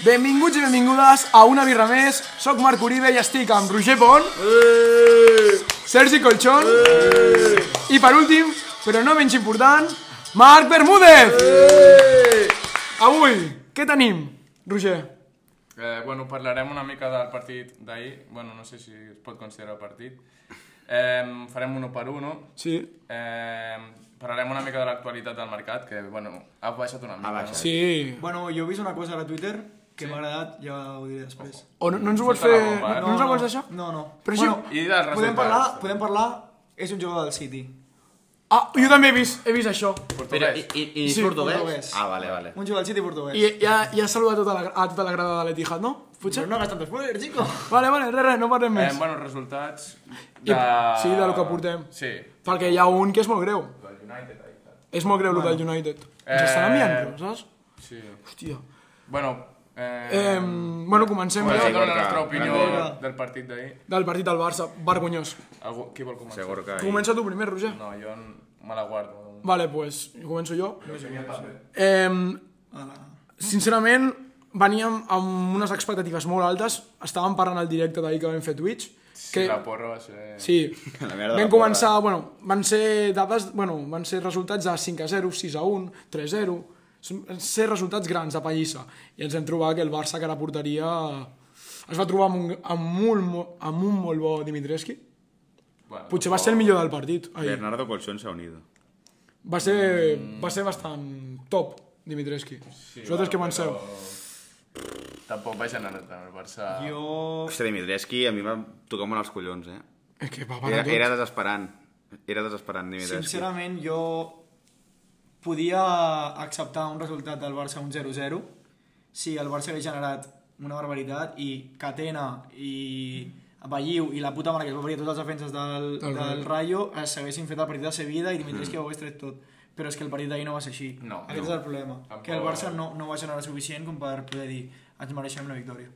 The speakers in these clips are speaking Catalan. Benvinguts i benvingudes a una birra més. Soc Marc Uribe i estic amb Roger Pont, Sergi Colchón i per últim, però no menys important, Marc Bermúdez! Avui, què tenim, Roger? Eh, bueno, parlarem una mica del partit d'ahir. Bueno, no sé si es pot considerar partit. Eh, farem un 1 per 1, no? Sí. Eh, parlarem una mica de l'actualitat del mercat, que, bueno, ha baixat una mica. Ha baixat. Sí. Bueno, jo he vist una cosa ara a Twitter que m'ha agradat, ja ho diré després. O no, no ens ho vols Solta fer... la bomba, eh? No, no ens ho vols deixar? No, no. Però bueno, sí. No? I dels podem resultats. parlar, podem parlar, és un jugador del City. Ah, jo també he vist, he vist això. Pero, Portuguès. ¿y, y, y Sí, portugués? portugués. Ah, vale, vale. Un jugador del City portuguès. I ja, ja he saludat tota la, a tota la grada de l'Etihad, no? Potser? Però no gastant spoiler, chico. Vale, vale, res, res, no parlem Eh, més. bueno, resultats I- de... sí, del que portem. Sí. Perquè hi ha un que és molt greu. Del United, ahir. tal. És molt greu, el del United. Eh. Ens estan enviant, saps? Sí. Hòstia. Bueno, eh... Eh, bueno, comencem Bueno, ja. dona la nostra opinió Segorca. del partit d'ahir. Del partit del Barça, vergonyós. Algú... Qui vol començar? Seguro que hay. Comença tu primer, Roger. No, jo n- me la guardo. Vale, pues començo jo. Eh, sincerament, veníem amb unes expectatives molt altes. Estàvem parlant al directe d'ahir que vam fer Twitch. Que... Que, La porra va ser... sí, La merda vam de la començar, bueno, van ser dades, bueno, van ser resultats de 5 a 0, 6 a 1, 3 a 0, Són- van ser resultats grans a pallissa. I ens vam trobar que el Barça que la porteria es va trobar amb un, amb molt, mo- amb un molt bo Dimitreski. Bueno, Potser va ser el millor del partit. Ahir. Bernardo Colchón se ha unido. Va ser, va ser bastant top, Dimitreski. Sí, Vosaltres què penseu? Tampoc va generar tant el Barça. Jo... Hòstia, Dimitreski, a mi em va tocar molt els collons, eh? És que va Era, parar tot. era desesperant. Era desesperant, Dimitreski. Sincerament, jo podia acceptar un resultat del Barça un 0-0 si el Barça havia generat una barbaritat i Catena i Balliu i la puta mare que es va obrir a totes les defenses del, Del del, del Rayo eh, s'haguessin fet el partit de Sevilla i Dimitrescu mm. ho hagués tret tot però és que el partit d'ahir no va ser així No, aquest no. és el problema Tampoc- que el Barça no, no va generar suficient com per poder dir ens mereixem la victòria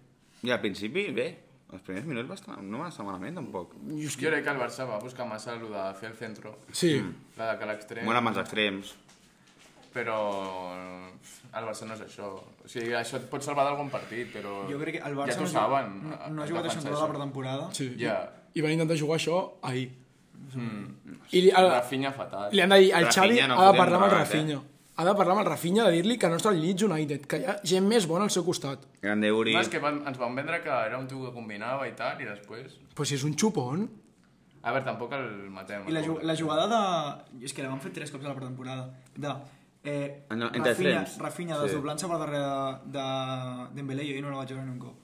I al principi, bé, els primers minuts va estar, no va estar malament, tampoc. Jo crec que el Barça va buscar massa el de fer el centro, Sí, Mm. la de que l'extrem, Molt amb els extrems. però el Barça no és això. O sigui, això et pot salvar d'algun partit, però jo crec que el Barça ja t'ho no, saben. no, no ha jugat això en tota la pretemporada sí. Ja. I van intentar jugar això ahir. Mm. I li, el, Rafinha fatal. li han de dir, el Xavi Rafinha no ha de fotem parlar amb el res, eh? Rafinha. Ha de parlar amb el Rafinha, de dir-li que no està al Leeds United, que hi ha gent més bona al seu costat. Grande Uri. No, és que van, ens van vendre que era un tio que combinava i tal, i després... Però si és un xupon... A veure, tampoc el matem. I la, el ju pobre. la jugada de... És que la van fer tres cops a la pretemporada. De... Eh, Ah, no, entre Rafinha, extrems. Rafinha Sí. desdoblant-se per darrere de, de Dembélé, jo ahir no la vaig veure ni un cop.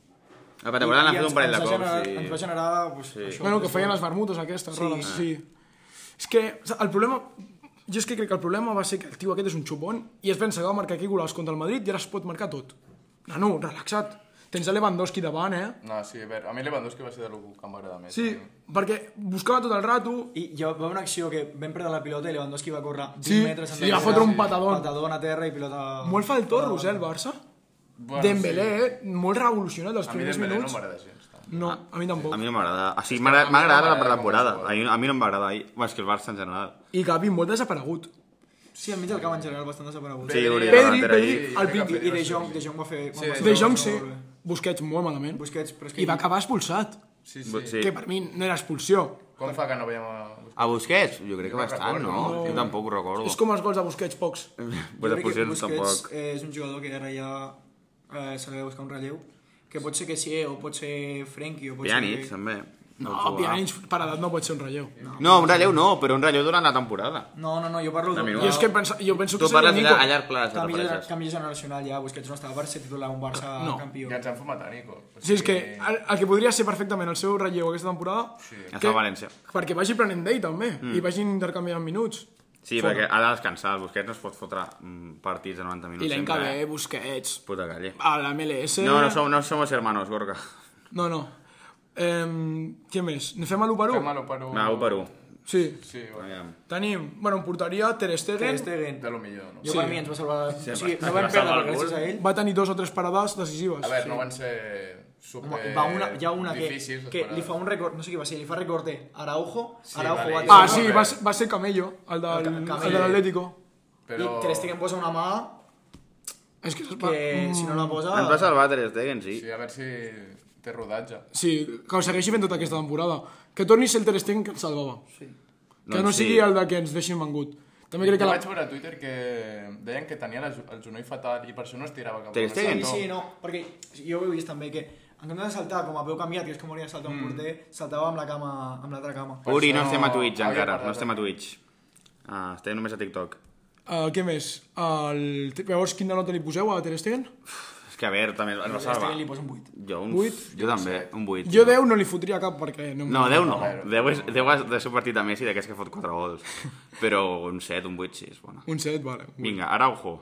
La pretemporada n'ha fet un parell de ens va generar- Ens va cops. generar... Pues, sí. això, Bueno, que tres feien gols. les vermutes aquestes, Sí. sí. Roles, sí. És que el problema... Jo és que crec que el problema va ser que el tio aquest és un xupon i es pensa que va marcar aquí gols contra el Madrid i ara es pot marcar tot. Nano, relaxa't. Tens a Lewandowski davant, eh? No, sí, a veure, a mi Lewandowski va ser de lo que em va agradar més. Sí, perquè buscava tot el rato... I jo va una acció que vam perdre la pilota i Lewandowski va córrer 20 Sí, metres sí, va fotre un patadón. patadón a terra i pilota... Molt faltorros, eh, el Barça? Bueno, Dembélé, sí. eh? Molt revolucionat els A mi primers Dembélé no minuts. m'agrada gens. tant. No, a mi tampoc. A mi no m'agrada. O sigui, que m'agra- a mi no m'ha agradat la m'agrada pretemporada. com A mi, a mi no em va agradar. ahir. Bueno, és que el Barça en general. I Gavi molt desaparegut. Sí, enmig del camp en general bastant desaparegut. Sí, Uri, Pedri, davantera Pedri, ahir. el I, Pinti. i De Jong, De Jong va fer... Sí, va De fer- Jong va sí, fer- Busquets molt malament. Busquets, però és que... I va acabar expulsat. Sí, sí. Sí. Que per mi no era expulsió. Com fa que no veiem a... A Busquets? Jo crec que bastant, no? Jo tampoc ho recordo. És com els gols de Busquets pocs. Pues Jo crec que expulsions Busquets tampoc. eh, és un jugador que ara ja eh, se li ha de buscar un relleu, que pot ser que sí, o pot ser Frenkie, o pot Pjanic, ser... també. No, pot jugar. Pjanic Ah, per edat no pot ser un relleu. No, un relleu no, però un relleu durant la temporada. No, no, no, jo parlo... minuts. Jo, és que pensa, jo penso que Tu seria parles Nico. allà, a llarg plaç, Canvi, et gener- refereixes. canvi generacional ja, Busquets no estava per ser titular a un Barça No. campió. Ja ens han fumat a Nico. O Sí, és que el, el que podria ser perfectament el seu relleu aquesta temporada... Està a València. Perquè vagi prenent d'ell, també. Mm. I vagin intercanviant minuts. Sí, perquè ha de descansar, el Busquets no es pot fotre mm, partits de 90 minuts I l'any que sempre, ve, eh? Busquets, Puta calle. a la MLS... No, no, som, no somos hermanos, Gorka. No, no. Eh, què més? Ne fem a l'1 per 1? Fem-lo per un... Va, 1 per 1. Sí. Sí, bueno, Aviam. Tenim, bueno, en porteria Ter Ter Stegen, Stegen, de lo millor, no? jo per mi ens va salvar... o sigui, no va vam perdre salvar però el gràcies a ell. va tenir dos o tres parades decisives. A veure, no van ser super Home, va una, hi ha una que, difícils. les que li parades. fa un record, no sé qui va ser, li fa record de Araujo, Sí, Araujo vale. va... Ah, sí, va, ser- va ser Camello, el, del, El Ca- Camello. el de l'Atlético. Però... I Ter Stegen posa una mà És que... Mm, que si no la posa... Ah. Ens va salvar Ter Stegen, sí. Sí, a veure si té rodatge. Sí, que ho segueixi fent tota aquesta temporada. Que torni a ser el Ter Stegen que ens salvava. Sí. Que Doncs no sí. sigui el de que ens deixin vengut. També crec Jo que la... vaig veure a Twitter que deien que tenia la, el genoll fatal i per això no es tirava cap Ter Stegen? el Sí, sector. sí, no, perquè jo ho he vist també que en comptes de saltar com a peu canviat, que és com hauria de Mm. saltar un porter, saltava amb la cama, amb l'altra cama. Uri, no això estem a Twitch havia encara, parlat no de- estem a Twitch. Ah, estem només a TikTok. Uh, què més? El... Llavors, quina nota li poseu a Ter Stegen? És que a veure, també ens va Ter salvar. Stegen li posa un 8. Jo, un, Vuit? jo també, un 8. Jo 10 no li fotria cap perquè... No, em- No, 10 no. 10 és, 10 és del seu partit a Messi, d'aquests que fot 4 gols. Però un 7, un 8, sí, és bona. Un 7, vale. Vinga, Araujo.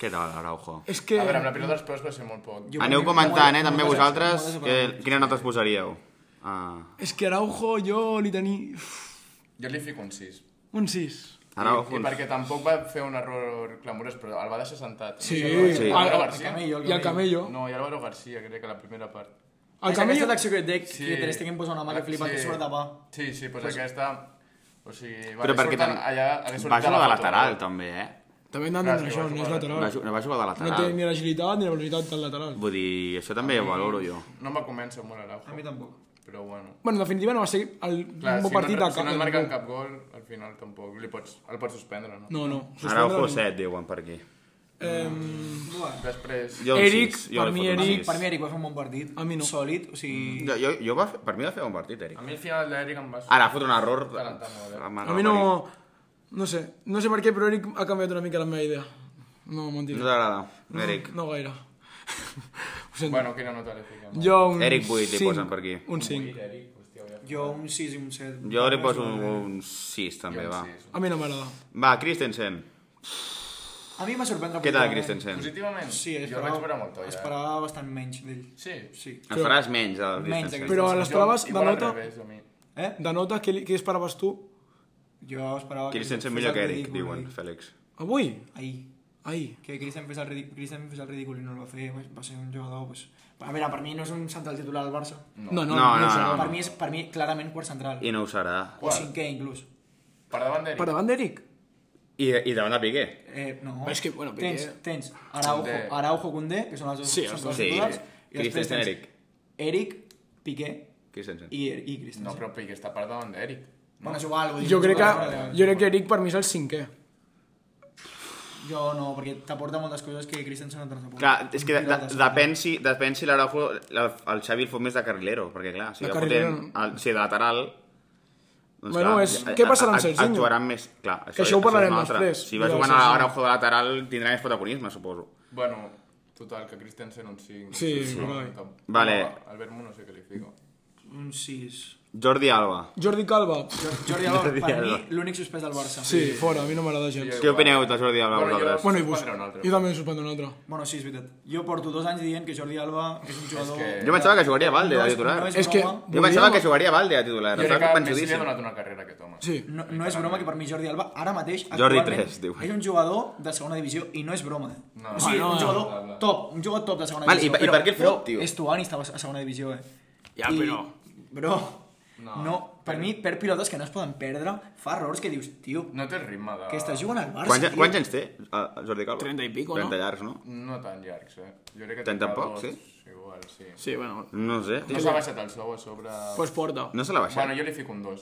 Què tal, Araujo? És que... A veure, amb la pilota dels peus va ser molt poc. Jo... Aneu comentant, eh, també vosaltres, que, quina nota us posaríeu? Ah, És que Araujo jo li tenia... jo li fico un 6. Un 6. I, Araujo, I perquè tampoc va fer un error clamorós, però el va deixar sentat. Sí. Sí. El, Álvaro El García. Camello, I el Camello. No, i Álvaro García, crec que la primera part. El És aquesta Camello... d'acció que et dec, Sí. que Ter Stegen posa una mà Ah, que flipa, que surt de pa. Sí, sí, doncs pues aquesta... O sigui, va, Però perquè surten tam... allà, hagués va sortit jugar de foto, lateral, no? també, eh? També hem d'anar Gràcies, això, va no és jugar. lateral. Va, ju- va jugar de No té lateral. ni l'agilitat ni la velocitat del lateral. Vull dir, això també ho valoro jo. No me convence molt Araujo. A mi tampoc. Però bueno. Bueno, en definitiva no va ser el Clar, un si, bon partit no, de si cap. no et de marquen ningú. cap gol, al final tampoc li pots, el pots suspendre, no? No, no. suspendre Araujo ningú. 7, diuen per aquí. Eh, Bueno, Després... Jo un Eric, sis, jo per li mi foto un Eric, sis. per mi Eric va fer un bon partit. A mi no. Sòlid, o sigui... Jo, jo, jo va fer, per mi va fer un partit, Eric. A mi al final l'Eric em va... Ara, fot un error... Calenta molt, eh? A mi no... No sé. No sé per què, però Eric ha canviat una mica la meva idea. No, No mentida. t'agrada, Eric. No gaire. Ho sento. Bueno, quina nota li fiquem? Jo un Eric vuit li cinc. posen per aquí. Un 5. Eric, hòstia, ja. Jo un 6 i un 7. Jo li poso un, un 6, també, va. Sí, sí. A mi no m'agrada. Va, Christensen. A mi em va sorprendre... Què tal, positivament. Christensen? Positivament? Sí, jo esperava, vaig veure molt toll, eh? esperava bastant menys d'ell. Sí. Sí. En faràs menys, el Menys, Christensen. aquest. Però a les Jo, proves de igual al nota... revés, a mi. Eh? De nota, què, li- què esperaves tu? Jo esperava... Christensen fes millor el que Eric, ridícul diuen, i- Fèlix. Avui? Ahir. Ahir. que Christian fes el, ridic- Christian fes el ridícul i no el va fer, va- va ser un jugador... Pues... A veure, per mi no és un central titular al Barça. No, no, no. No, no, no, sé. no. Per, mi és, per mi, clarament, quart central. I no ho serà. O cinquè, inclús. Per davant d'Eric. Per davant d'Eric? I, i davant de Piqué. Eh, no. Però és que, bueno, Piqué- tens, tens Araujo, Condé. Araujo Condé, que són els dos Sí, són els dos dos. titulars. Sí. i després Christensen, tens Eric. Eric, Piqué Christensen. i, i Christensen. No, però Piqué està per davant d'Eric. Bueno, és igual. vull dir, Jo és crec que, igual, però- jo crec que Eric per mi és el cinquè. Jo no, perquè t'aporta moltes coses que Christensen no t'aporta. Clar, és que de, de, depèn si, depèn si l'Araujo, el, el Xavi el fot més de carrilero, perquè clar, si De de, carrilero. fotent, el, si de lateral... Doncs, Bueno, és- què passarà amb act- Serginho? Actuaran més... Clar, Que això ho és un parlarem altre. després. Si va Però jugant a Serginho- l'Araujo de lateral tindrà més protagonisme, suposo. Bueno, total, que Christensen un 5. Sí, no, guai. tampoc. Vale. No, Albert Mu no sé què li fico. Un 6. Jordi Alba. Jordi Calva? Jordi Alba, per mi, Alba. l'únic suspès del Barça. Sí, fora, a mi no m'agrada gens. Què opineu de Jordi Alba, Bueno, jo- vosaltres? Bueno, i vos... Suspendre un altre. Jo també suspendo un altre. Bueno, sí, és veritat. Jo porto dos anys dient que Jordi Alba és un jugador... que- Jo pensava que jugaria Valde, de titular. No és, És que... broma, Jo pensava que jugaria Valde, de titular. Jo crec Estava que Messi li ha convençudíssim. donat una carrera a aquest home. Sí. no, no és broma que per mi Jordi Alba ara mateix Jordi actualment, tres, diu. és un jugador de segona divisió i no és broma. Eh? No. o sigui, Ah, no. un jugador top, un jugador top de segona Val, i divisió. per- i per què el però fot, tio? Estuani estava a segona divisió, eh? Ja, però- Bro, no, No. per mi perd pilotes que no es poden perdre, fa errors que dius, tio, No té ritme de... que estàs jugant al Barça, Quants, tio. quants anys té eh, Jordi Calvo? 30 i pico, no? 30 llargs, no? No tan llargs, eh? Jo crec que... Tant tindrà tampoc, dos, sí? Igual, sí. Sí, bueno. No sé. No s'ha baixat el sou a sobre... Pues porta. No se l'ha baixat. Bueno, jo li fico un 2.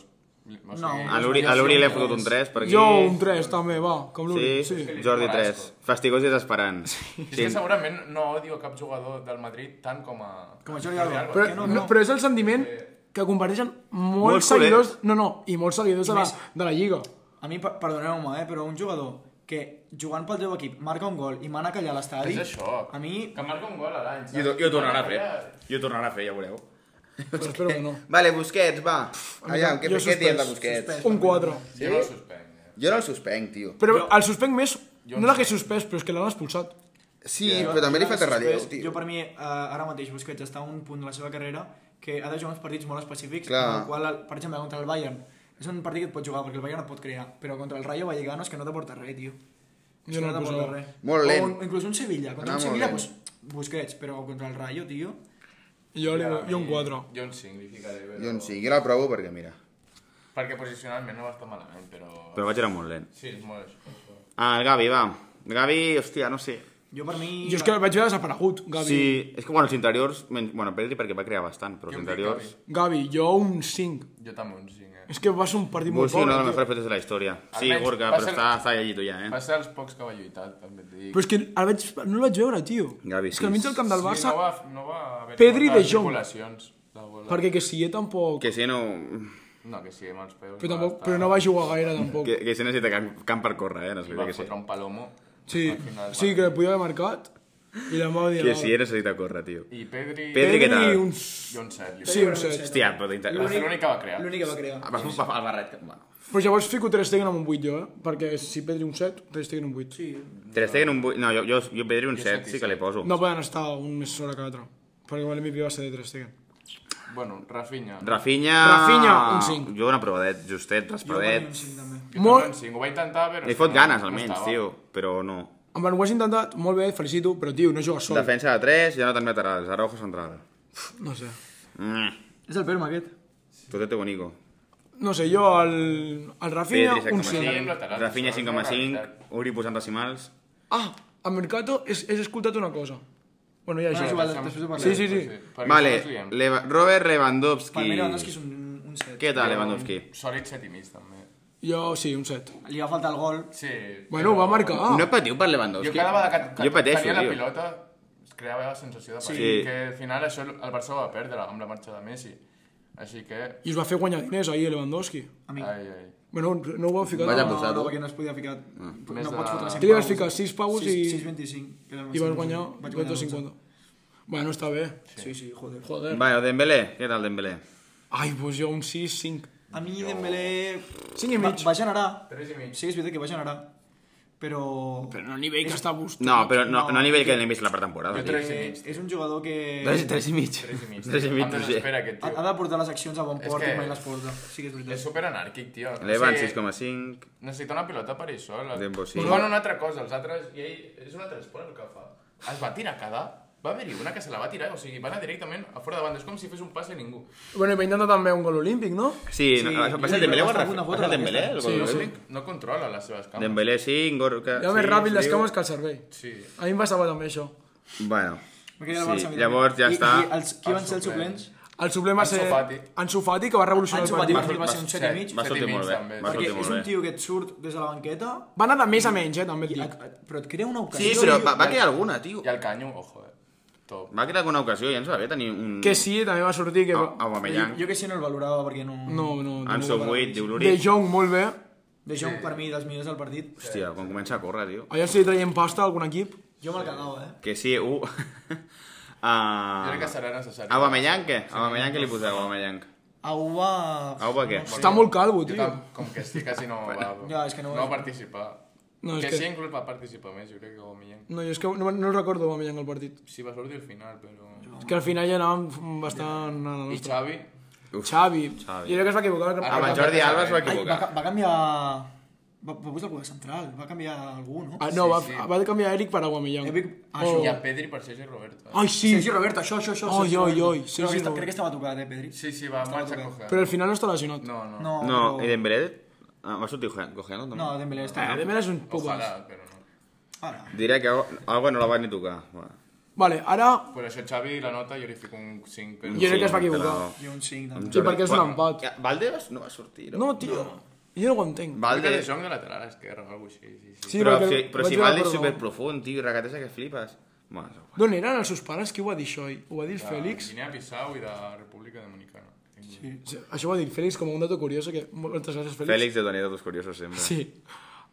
O sigui, No. A l'Uri a l'Uri li he fotut un 3 per aquí. Jo un 3 també, va, com l'Uri. Sí, Sí. Jordi 3. Fastigós i desesperant. És que segurament no odio cap jugador del Madrid tant com a... Com a Jordi Alba. Però, Que no, no, no. però és el sentiment que comparteixen molts Molts seguidors... No, no, i molts seguidors de la, Més. de la Lliga. A mi, per- perdoneu-me, eh, però un jugador que jugant pel teu equip marca un gol i mana callar a l'estadi... És això. A mi... Que marca un gol a l'any. I ho, i ho tornarà a fer. I ho tornarà a fer, ja ho veureu. Però espero que no. Vale, Busquets, va. Aviam, què- Jo què suspès, diem de Busquets? Un 4. Jo no el suspenc. eh? Jo no el suspenc, tio. Però el suspenc més... No l'hagués suspès, però és que l'han expulsat. Sí, Jo- però també jo li falta després- relleu, tio. Jo per mi, eh, ara mateix, Busquets està a un punt de la seva carrera que ha de jugar uns partits molt específics, Clar. en el qual, el- per exemple, contra el Bayern, és un partit que et pot jugar, perquè el Bayern et pot crear, però contra el Rayo Vallecano és que no t'aporta res, tio. És Jo que no el t'aporta posava. res. Molt lent. O, inclús un Sevilla, contra un Anava molt Sevilla, lent. pues, Busquets, però contra el Rayo, tio... Jo, li, jo un 4. Jo un 5 li ficaré. Però... Jo en sí, jo la provo perquè mira. Perquè posicionalment no va estar malament, però... Però vaig anar molt lent. Sí, és molt això. Ah, el Gavi, va. El Gavi, hòstia, no sé. Jo per mi... Jo és que el vaig veure desaparegut, Gavi. Sí, és que, bueno, els interiors... men- Bueno, Pedri perquè va crear bastant, però Jo els em dic interiors... Gavi, jo un 5. Jo també un 5, eh? És que va ser un partit Vol molt ser una de pobre, les tio. mejores fetes de la història. Sí, Almenys Gorka, va però ser- està, està llegit ja, eh? Va ser els pocs que va lluitar, també et dic. Però és que el vaig, no el vaig veure, tio. Gavi, és que al sí. mig del camp del Barça... Sí, no va, no va haver Pedri moltes de Jong. circulacions de bola. Perquè que sí, eh, tampoc... Que si no... No, que sí, amb els peus. Però, tampoc, però no va jugar gaire, tampoc. Que, que si necessita camp, camp per córrer, eh? No sé, Va que sí. fotre un palomo. Sí, al final, sí, que va. el podia haver marcat. I la va dir... Que si necessita córrer, tio. I Pedri... Pedri- què tal? un... I un set. Sí, un set. Hòstia, però d'inter... Va ser l'únic que va crear. L'únic que va crear. Va fer un al barret... que- Bueno. Però llavors fico Ter Stegen amb un 8 jo, eh? Perquè si Pedri un 7, Ter Stegen un 8. Sí. Ter Stegen un 8... No, jo, jo, jo Pedri un 7 set i sí que li poso. No poden estar un més sobre que l'altre. Perquè l'MVP va ser de Ter Stegen. Bueno, Rafinha. Rafinha... Rafinha, un cinc. Jo un aprovadet, justet, Jo per mi raspadet. un 5 també. Jo Molt- també un cinc. Ho va intentar, però... Li fot ganes, no almenys, estava. tio. Però no. Home, ho has intentat, molt bé, et felicito, però tio, no jugues sol. Defensa de 3, Jonathan Laterals, Araujo central. No sé. Mm. És el Perma aquest. Totete bonico. No sé, jo el, el Rafinha, Pedri un Sí, 7. amb 7,5, laterals, Rafinha això és una 5,5, realitat. Uri posant decimals. Ah, a Mercato he, he escoltat una cosa. Bueno, ja Ah, això. és igual, després ho Sí, parlarem. sí, sí. Perquè Vale, nosaltres diem. Leva Robert Lewandowski. Per mi Lewandowski és un, un 7. Què tal, Lewandowski? Un Sòlid set i mig, també. Jo sí, un 7. Li va faltar el gol. Sí. Bueno, va marcar. No patiu per Jo Lewandowski. cada vegada que, que jo pateixo, tenia la tio. pilota es creava la sensació de partit, Sí. que al final això el Barça ho va perdre amb la marxa de Messi. Així que... I us va fer guanyar diners ahir, Lewandowski. Amic. Ai, ai. Bueno, no ho vau ficar. Vaja a- putada. No, no, perquè no es podia ficar... No, Mm. Més pots de- fotre 100 Què li vas ficar? 6 pavos i... 6,25. I vas guanyar 250. Bueno, està bé. Sí, sí, joder. Joder. Vale, Dembélé, què tal Dembélé? Ai, doncs jo un 6, 5. A mi Dembélé... Cinc i va- mig. Va generar. Tres i mig. Sí, és veritat que va generar. Però... Però no a nivell que està buscat. No, però no, no a nivell que n'hem vist la pretemporada. Jo tio. tres i mig. És, és eh, un jugador que... Tres, tres i mig. Tres i mig. Tres i mig, Em Roger. desespera aquest Ha, ha tio. de portar les accions a bon És port que- i mai les porta. Sí que és És veritat. super anàrquic, tio. O Levan sigui, 6,5. Necessita una pilota per ell sol. Dembo, sí. Li fan una altra cosa, els altres... I ell és un altre esport el que fa. Es va tirar cada... Va haver-hi una que se la va tirar, o sigui, va anar directament a fora de banda. És com si fes un passe a ningú. Bueno, i va intentar també un gol olímpic, no? Sí, no, això passa el Dembélé o el Està a Rafa? punt de Passa el fotre Dembélé? aquesta. el gol Sí, de sí. Dembélé? No controla les seves cames. Dembélé 5, Gorka... Ja més sí, ràpid les sí. cames que el cervell. Sí. A mi em passava també això. Bueno, M'agrada el Barça, sí, mira. llavors ja I- està. I, els, qui van ser els suplents. suplents? El suplent va Ansu ser... Fati. Ansu Fati, que va revolucionar Ansu el Fati partit. va fer- va ser un 7 i mig. Va Set eh. i sortir mig, molt bé. també. Va Perquè sortir és molt un bé. tio que et surt des de la banqueta Va anar de més a menys, eh, també et i dic. et, et, però et crea una Sí, ocasió. però tio. va, va crear alguna, tio. I el canyo, ojo, eh. Top. Va crear alguna ocasió, ja ens va bé tenir un... Que sí, també va sortir que... Ah, Jo, Aubameyang. jo que sí no el valorava perquè no... No, no, no. Ansu 8, diu De l'Uri. Jong, molt bé. De Jong, per mi, dels millors del partit. Hòstia, quan comença a córrer, tio. Allà si li traiem pasta a algun equip. Jo me'l cagava, eh? Que sí, u... Jo crec que Ah... serà necessari. Aubameyang, què? Aubameyang, què li poseu, Aubameyang? Au va... Auba, què? Està molt calvo, Jo tio. tam- com que sí, quasi no va, Ja, és que no- no va participar. No, és que, que- sí, inclús va participar més, jo crec que Aubameyang. No, jo és que no, no recordo Aubameyang al partit. Sí, va sortir al final, però... És que al final ja anàvem bastant a la I nostra. Xavi, Xavi. Jo crec que es va equivocar. al Amb cap- el Jordi Alba es va Ai, va, equivocar. ca- va canviar... Va, va posar algú de central, va canviar algú, no? Ah, no, va, sí. va canviar Eric per Aubameyang. Eric- ah, Oh. això i a Pedri per Sergi Roberto. Ah. eh? Ai, sí. Sergi Roberto, això, això, això. Oi, Sergi oi, Roberto. oi, Però Sergi que està- Roberto. Crec que estava tocat, eh, Pedri? Sí, sí, va, marxa a coger. Però al final no està lesionat. No, no. No, No, però- i Dembélé... Ah, va sortir Gojano, també? No, Dembélé està... Eh, Dembélé és un poc Ojalà, més. però no. Ara. Diré que Au- Alba no la va ni tocar. Bueno. Vale, ara... Per això Xavi, la nota, jo li fico un 5, però... Jo crec que es va però- equivocar. Jo un 5, també. Sí, perquè és un Bueno, empat. ja, Valdebas no va sortir, no? No, tio. Jo no ho entenc. Crec que de Valde... Jong de lateral esquerra o alguna cosa així. Sí, sí. Sí, però, perquè si, però vaig si veure Valde és per super damunt. profund, tio, regatesa que flipes. Bueno, és igual. D'on eren els seus pares? Qui ho va dir això? ahir? Ho va dir el Fèlix? Guinea-Bissau i de República Dominicana. Sí. Sí, Això ho va dir el Fèlix com un dato curiós. Que... Moltes gràcies, Fèlix. Fèlix de Donnie Datos Curiosos, sempre. Sí.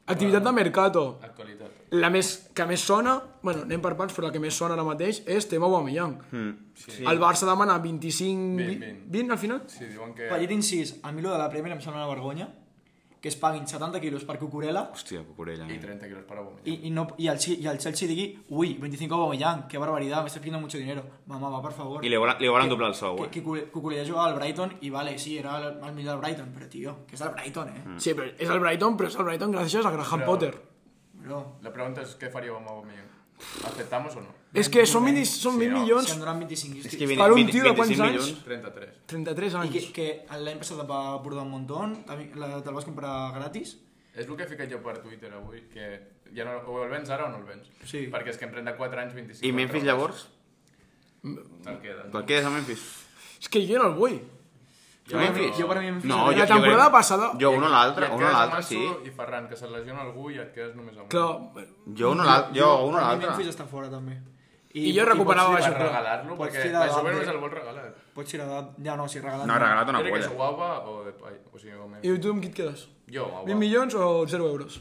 Activitat de Mercato. Actualitat. La més, que més sona, bueno, anem per parts, però la que més sona ara mateix és tema Aubameyang. Sí. El Barça demana 25... 20, 20, 20 al final? Sí, diuen que... Petit incís, a mi lo de la Premier em sembla una vergonya, que es paguin 70 quilos per Cucurella Hòstia, Cucurella. I 30 quilos per Aubameyang. i, i, no, i, el, Chi- i el Chelsea digui ui, 25 Aubameyang, que barbaridad, me estás pidiendo mucho dinero. Mamá, va, por favor. I li volen, li volen Que- doblar el sou, que, eh? que Cucu- Cucurella jugava al Brighton i vale, sí, era el, el millor del Brighton, però tio, que és el Brighton, eh? Sí, però és el Brighton, però és el Brighton gràcies a Graham Però- Potter. Bro, La pregunta és què faríeu amb Aubameyang? Acceptamos o no? És que són, 20, són 20 si em milions, donen 25 quilos. vint- per un vint- tio de quants 25 anys? milions. 33. 33 I que, anys. que l'any passat et va portar un muntó, te'l vas comprar gratis, És el que he ficat jo per Twitter avui, que ja no, o el vens ara o no el vens. Sí. Perquè és que en 34 anys, 25... I Memphis llavors? Doncs Te'l quedes. Te'l quedes a Memphis? És que jo no el vull. Jo, Memphis? Jo per mi Memphis. No, La jo- jo temporada crec- passada- Jo un o I l'altre, et un o quedes amb l'altre, Ansu sí. I Ferran, que se't lesiona algú i et quedes només amb un. Clar, Jo un o l'altre, jo un o Per mi l'altre. Memphis està fora, també. I jo recuperava Per pots això, tirar- però- regalar-lo, Pots perquè tirar la davant Juve de- només el vol regalar. Pots tirar de... Ja no, sí, regalant. No, he regalat una Crec que polla. és guava o de... ai, O sigui, o i Memphis. tu amb qui et quedes? Jo, Ah, guava. 20 milions o 0 euros?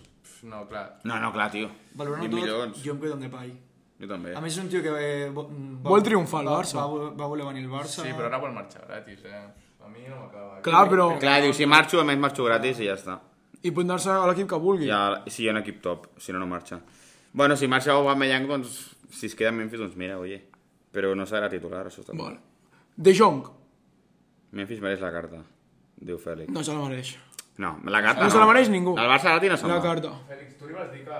No, clar. No, no, clar, tio. Valorant 20 tot, milions. jo em quedo amb Depay. Jo també. A més, és un tio que... eh, vo- mm, Va, Vol triomfar al va- Barça. Va, vo- va voler venir al Barça. Sí, però ara vol marxar gratis, eh? A mi no m'acaba. Clar, però... Clar, diu, si marxo, a més marxo gratis i ja està. I apuntar-se a l'equip que vulgui. Ja, si hi ha un equip top, si no, no marxa. Bueno, si marxa Aubameyang, doncs, si es queda a Memphis, doncs mira, oye. Però no serà titular, això també. Vale. De Jong, Memphis mereix la carta, diu Fèlix. no se la mereix. No, la carta no. No se la mereix ningú. El Barça gratis no se'n La va. carta. Fèlix, tu li vas dir que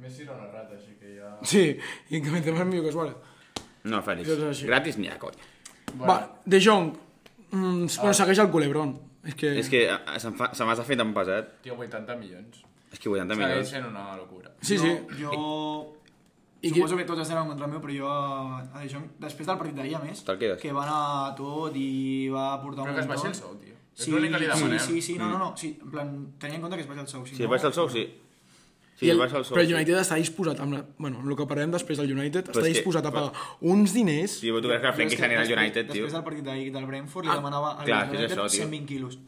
Messi era una rata, així que ja... Sí, i que Benzema és millor que Suárez. No, Fèlix. Això és així. Gratis ni a conya. Va, De Jong, mm, bueno, segueix el culebrón. És que... Ah. És que eh, se'm fa- se m'has fet tan pesat. Tio, 80 milions. És que 80 Segueix milions. sent una locura. Sí, sí. Jo... I I qui- Suposo que tots estaran contra meu, però jo a a De Jong, després del partit d'ahir, a més, Te'l quedes? que va anar a tot i va portar Però un que es muntó. baixi el sou, tio. Sí, és l'únic que li sí, demanem. sí, sí, no, no, no, sí, en plan, tenia en compte que es baixa el sou. Si Si no, et baixa el sou, Mm. sí. Si I et baixa el sou, però el sí. United està disposat, amb la, bueno, amb el que parlem després del United, Però està és que- disposat a pagar uns diners... Sí, però tu creus que el Frenkie Però és que s'anirà al després- United, tio? Després del partit d'ahir del Ah. Brentford li demanava al clar, és United això, tio. 120 quilos.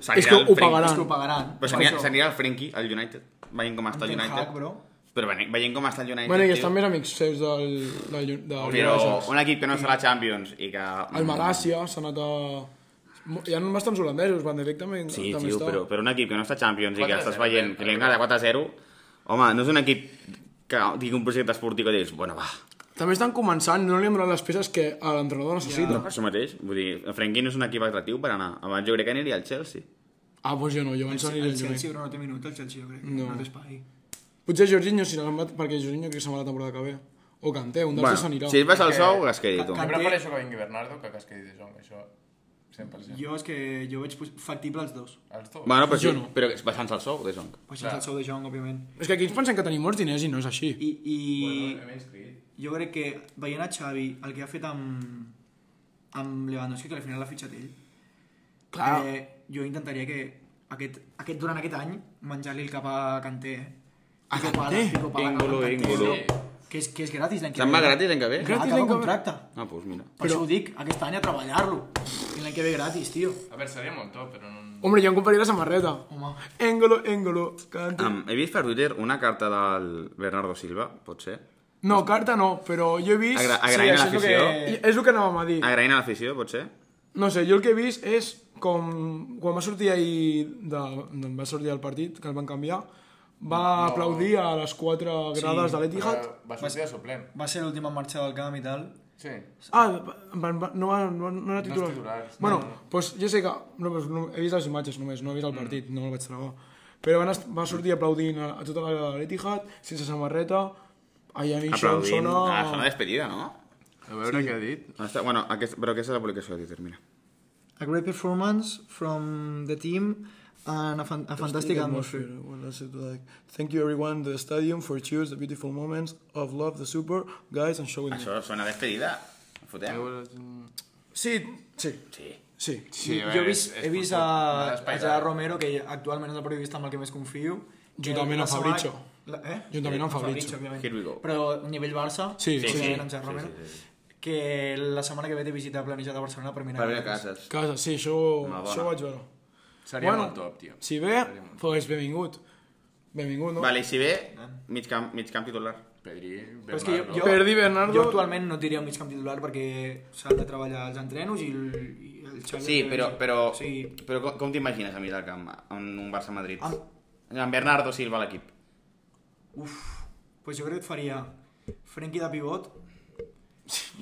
S'anirà És que al ho Frenkie. pagaran. És que ho pagaran. Però Per s'anirà- això. s'anirà el Frenkie al United. Veient com està el Ten Hag, United. bro. Però veient, veient com està el United, Bueno, i tio. estan més amics seus del... del, del Però United. un equip que no serà Champions i que... El Malàcia s'ha anat a... Hi ha bastants holandesos, Van de Beek també, Sí, també tio, està. però, però un equip que no està a Champions i que 4-0, estàs veient que eh? li han de 4-0, home, no és un equip que tingui un projecte esportiu que dius, bueno, va, També estan començant, no li han donat les peces que a l'entrenador necessita. no, això mateix. Vull dir, el Frenkie no és un equip atractiu per anar. Abans jo crec que aniria al Chelsea. Ah, doncs jo no, jo abans aniré El al Chelsea, Juventus. però no té minut, el Chelsea, jo crec. No. No té espai. Potser Jorginho, si l'han mat, perquè Jorginho crec que se'n va la temporada que ve. O Kanté, un dels bueno, s'anirà. si et vas al Perquè- sou, que es quedi tu. Jo Can- prefereixo que vingui Bernardo que que es quedi de Jong, això 100%. Jo és que jo veig pos- factible els dos. Els dos. Bueno, però, Jo sí, no. però baixant-se al sou, de Song. Baixant el sou de Jong, òbviament. És que aquí ens pensem que tenim molts diners i no és així. I, i Bueno, hem inscrit. jo crec que veient a Xavi el que ha fet amb, amb Lewandowski, que al final l'ha fitxat ell, Clar. eh, jo intentaria que aquest, aquest, durant aquest any menjar-li el cap a Kanté. eh? A Pico Kanté? pala, pico pala, Íngolo, Kanté. Íngolo. Sí. Que és, que és gratis l'any que Se'n va gratis l'any que ve? Clar, Gratis l'any acaba que ve. contracte. Ah, doncs mira. Per això ho dic, aquest any a treballar-lo. I l'any que ve gratis, tio. A veure, seria molt top, però no... Hombre, jo em compraria la samarreta. Home. Engolo, engolo, Kanté. Um, he vist per Twitter una carta del Bernardo Silva, pot ser? No, carta no, però jo he vist... Agra agraint això a és lo l'afició. que- I és el que anàvem a dir. Agraint a l'afició, pot ser? No sé, jo el que he vist és com quan va sortir ahir de, de, va sortir del partit, que el van canviar, va aplaudir a les quatre grades de l'Etihad. Però Va sortir de suplent. Va ser l'última marxa del camp i tal. Sí. Ah, va, va, no, va, no, no era titular. titular, sí. bueno, pues jo sé que... No, pues, no, he vist les imatges només, no he vist el partit, no el vaig tragar. Però van, est- va sortir aplaudint a, a tota la grada de l'Etihad, sense samarreta, allà en això em Aplaudint. sona... Ah, sona despedida, no? A veure què ha dit. On està? Bueno, aquest, però aquesta és la publicació de Twitter, mira. A great performance from the team and a, fan a fantastic atmosphere. Well, that's it, like, thank you everyone to the stadium for cheers, the beautiful moments of love, the super, guys, and showing Això sona despedida. Fotem. Sí, sí, Sí. sí. Sí, a jo veure, he vist, és- és he vist futbol. a, a Espai de- Gerard Romero, que actualment és el periodista amb el que més confio. Juntament Eh, amb la setmana- Fabricio. La, eh? Juntament amb Fabricio. òbviament. Here we go. Però nivell Barça, Sí, sí, òbviament, sí. amb Gerard Romero, que la setmana que ve té visita planejada a Barcelona per mirar. Per venir a cases. Casa, sí, això, Una dona. això ho vaig veure. Seria Bueno. molt top, tio. Si ve, doncs pues benvingut. Benvingut, no? Vale, i si ve, Eh? mig camp, mig camp titular. Pedri, Però és que jo, Bernardo... jo, Perdi Bernardo. jo actualment no et diria un mig camp titular perquè s'han de treballar els entrenos i el, i el Xavi... Sí, però, però, Sí, però com, com t'imagines a mig del camp, en un Barça-Madrid? Ah. En Bernardo Silva a l'equip. uf, pues jo crec que et faria Frenkie de pivot.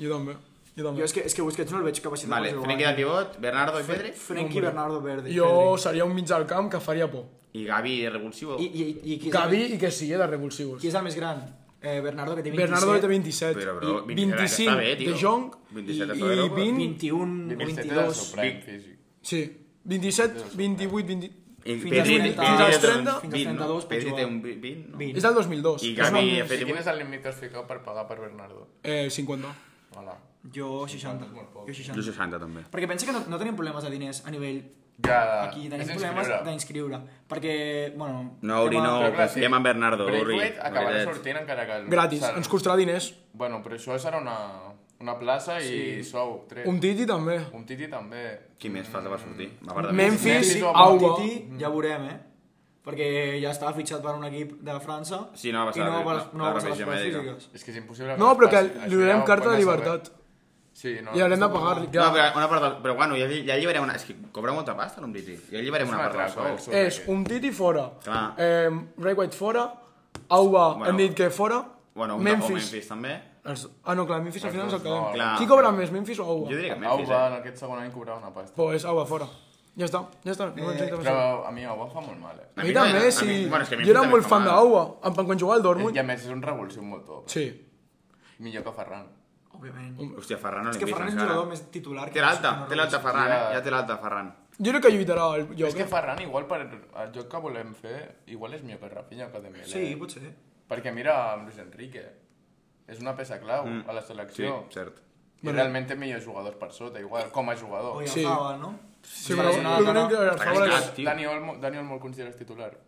Jo també. Jo també. Jo és que, és que Busquets no el veig capacitat Vale, per jugar. Frenkie de pivot, Bernardo i Pedri, eh? Frenkie, Bernardo, Verde. Jo Pedri. seria un mig del camp que faria por. i Gavi de revulsiu. I, i, i qui, és Gavi el, i que sigui de revulsius. qui és el més gran? Eh, Bernardo, que té 27. Bernardo té 27. Però, bro, i 27 25 està bé, tio. de Jong 27 i, està bé, i però- 20... 21 o 22. 22. Suplent físic. Sí, 27, 28, 20... I Fins als 30, Pedri fins als 30, té un fins als 20, no? 32 pot Pedri jugar. té un 20, no? 20. És del 2002. I És una- Gavi ha fet... I quin és el límit que has ficat per pagar per Bernardo? Eh, 50. Hola. Jo 60. Jo 60. Jo 60 també. Perquè pensa que no, no tenim problemes de diners a nivell Ja, aquí, tenim és problemes inscriure. d'inscriure. Perquè, bueno... No, Uri, tema- no, Però clar, sí. confiem en Bernardo, Uri. Braithwaite acabarà Maridet. sortint encara que... el- Gratis, serà- ens costarà diners. Bueno, però això serà una, una plaça i sou tres. Un titi també. Un titi també. Qui més falta per sortir? A part de Memphis, Memphis o Aua. Titi, ja veurem, eh? Perquè ja estava fitxat per un equip de França Sí, no va i passar no la- va, la- no va la passar les revisió proves mèdica. físiques. És que és impossible... No, però que passi. li donarem Això carta quan de es llibertat. sabrà. Sí, no. I haurem de no, pagar... No, Ja. però, una part del... però bueno, ja, lli- ja lliurem una... És que cobra molta pasta, l'Ombriti. Ja lliurem És una una part del trampa, sou. eh? És un titi fora. Clar. Eh, Ray White fora. Auba, Bueno. hem dit que fora. Bueno, un Memphis. Memphis. Memphis també. Els- Ah, no, clar, Memphis al final és el Els dos no, calent. clar. Qui cobra més, Memphis o Auba? Jo diria que Au, Memphis, va, eh? en aquest segon any cobrava una pasta. Pues Auba fora. Ja està, ja està. No eh, Però a mi Au em fa molt mal, eh? A A mi mi també, m'agrada- a sí. mi- bueno, és que a mi jo era també molt fa fan mal. d'Auba. Em van quan jugava al I Dortmund. a més és un revulsiu molt top. Sí. Millor que Ferran. Òbviament. Hòstia, Ferran no És l'hem que vist Ferran és un encara. jugador més titular. Té l'alta, té l'alta Ferran, eh? Ja. Ja té l'alta Ferran. Jo crec que lluitarà el És lloc. que eh? Ferran, igual per el joc que volem fer, igual és millor que Rafinha o que Dembélé. eh? Sí, potser. Perquè mira amb Luis Enrique. És una peça clau a la Mm. Sí, selecció. cert. I realment té millors jugadors per sota, igual com a jugador. O ja Sí. sí. Fava, no? Sí, però, Barcelona, jo crec que Barcelona. el favor és... cascat. Ah, tio. Dani Olmo, Dani Olmo el consideres titular.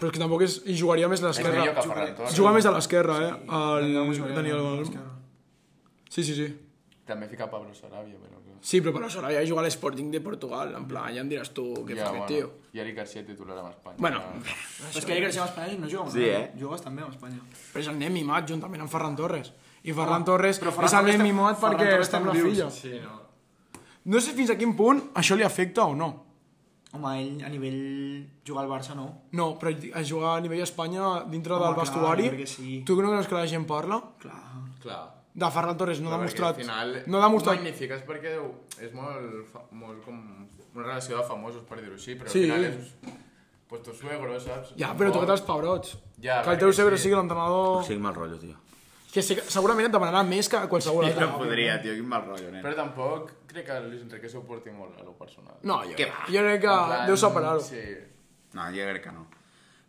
Però és que tampoc és... I jugaria més a És millor l'esquerra. que Ferran Torres. Juga més a l'esquerra, eh? El Daniel Mussolini, Daniel... no? Esquerra. Sí, sí, sí. També fica Pablo Sarabia, però... que- Sí, però per això ja jugar a l'Sporting de Portugal, en plan, ja em diràs tu què fa aquest tio. I Eric Garcia titular amb Espanya. Bueno, Però és que ahir creixem a Espanya i no juga amb Sí, Espanya. eh? Jugues també amb Espanya. però és el nen mimat juntament amb Ferran Torres. I Ferran Torres Ah, però Ferran és el Torres nen té- mimat Ferran perquè Torres està amb té la motius. filla. Sí, no. No sé fins a quin punt això li afecta o no. Home, ell a nivell jugar al Barça no. No, però a jugar a nivell Espanya dintre Home, del clar, vestuari, jo crec que sí. tu no creus que la gent parla? Clar. Clar. De Ferran Torres no ha Perquè demostrat... Al final, No ha demostrat... Magnifiques perquè és molt, fa- molt com una relació de famosos, per dir-ho així, però Sí. al final és... Pues tu suegro, saps? Ja, però toca els pebrots. que Ja, el perquè teu cebre sí. sigui l'entrenador... Sí, mal rotllo, tio. Que sí, que segurament et demanarà més que qualsevol altre. No podria, tio, quin mal rotllo, nen. Però tampoc crec que el Luis Enrique s'ho porti molt a lo personal. No, jo, Què va? jo crec que En plan, deu separar-ho. Sí, Sí. No, jo crec que no.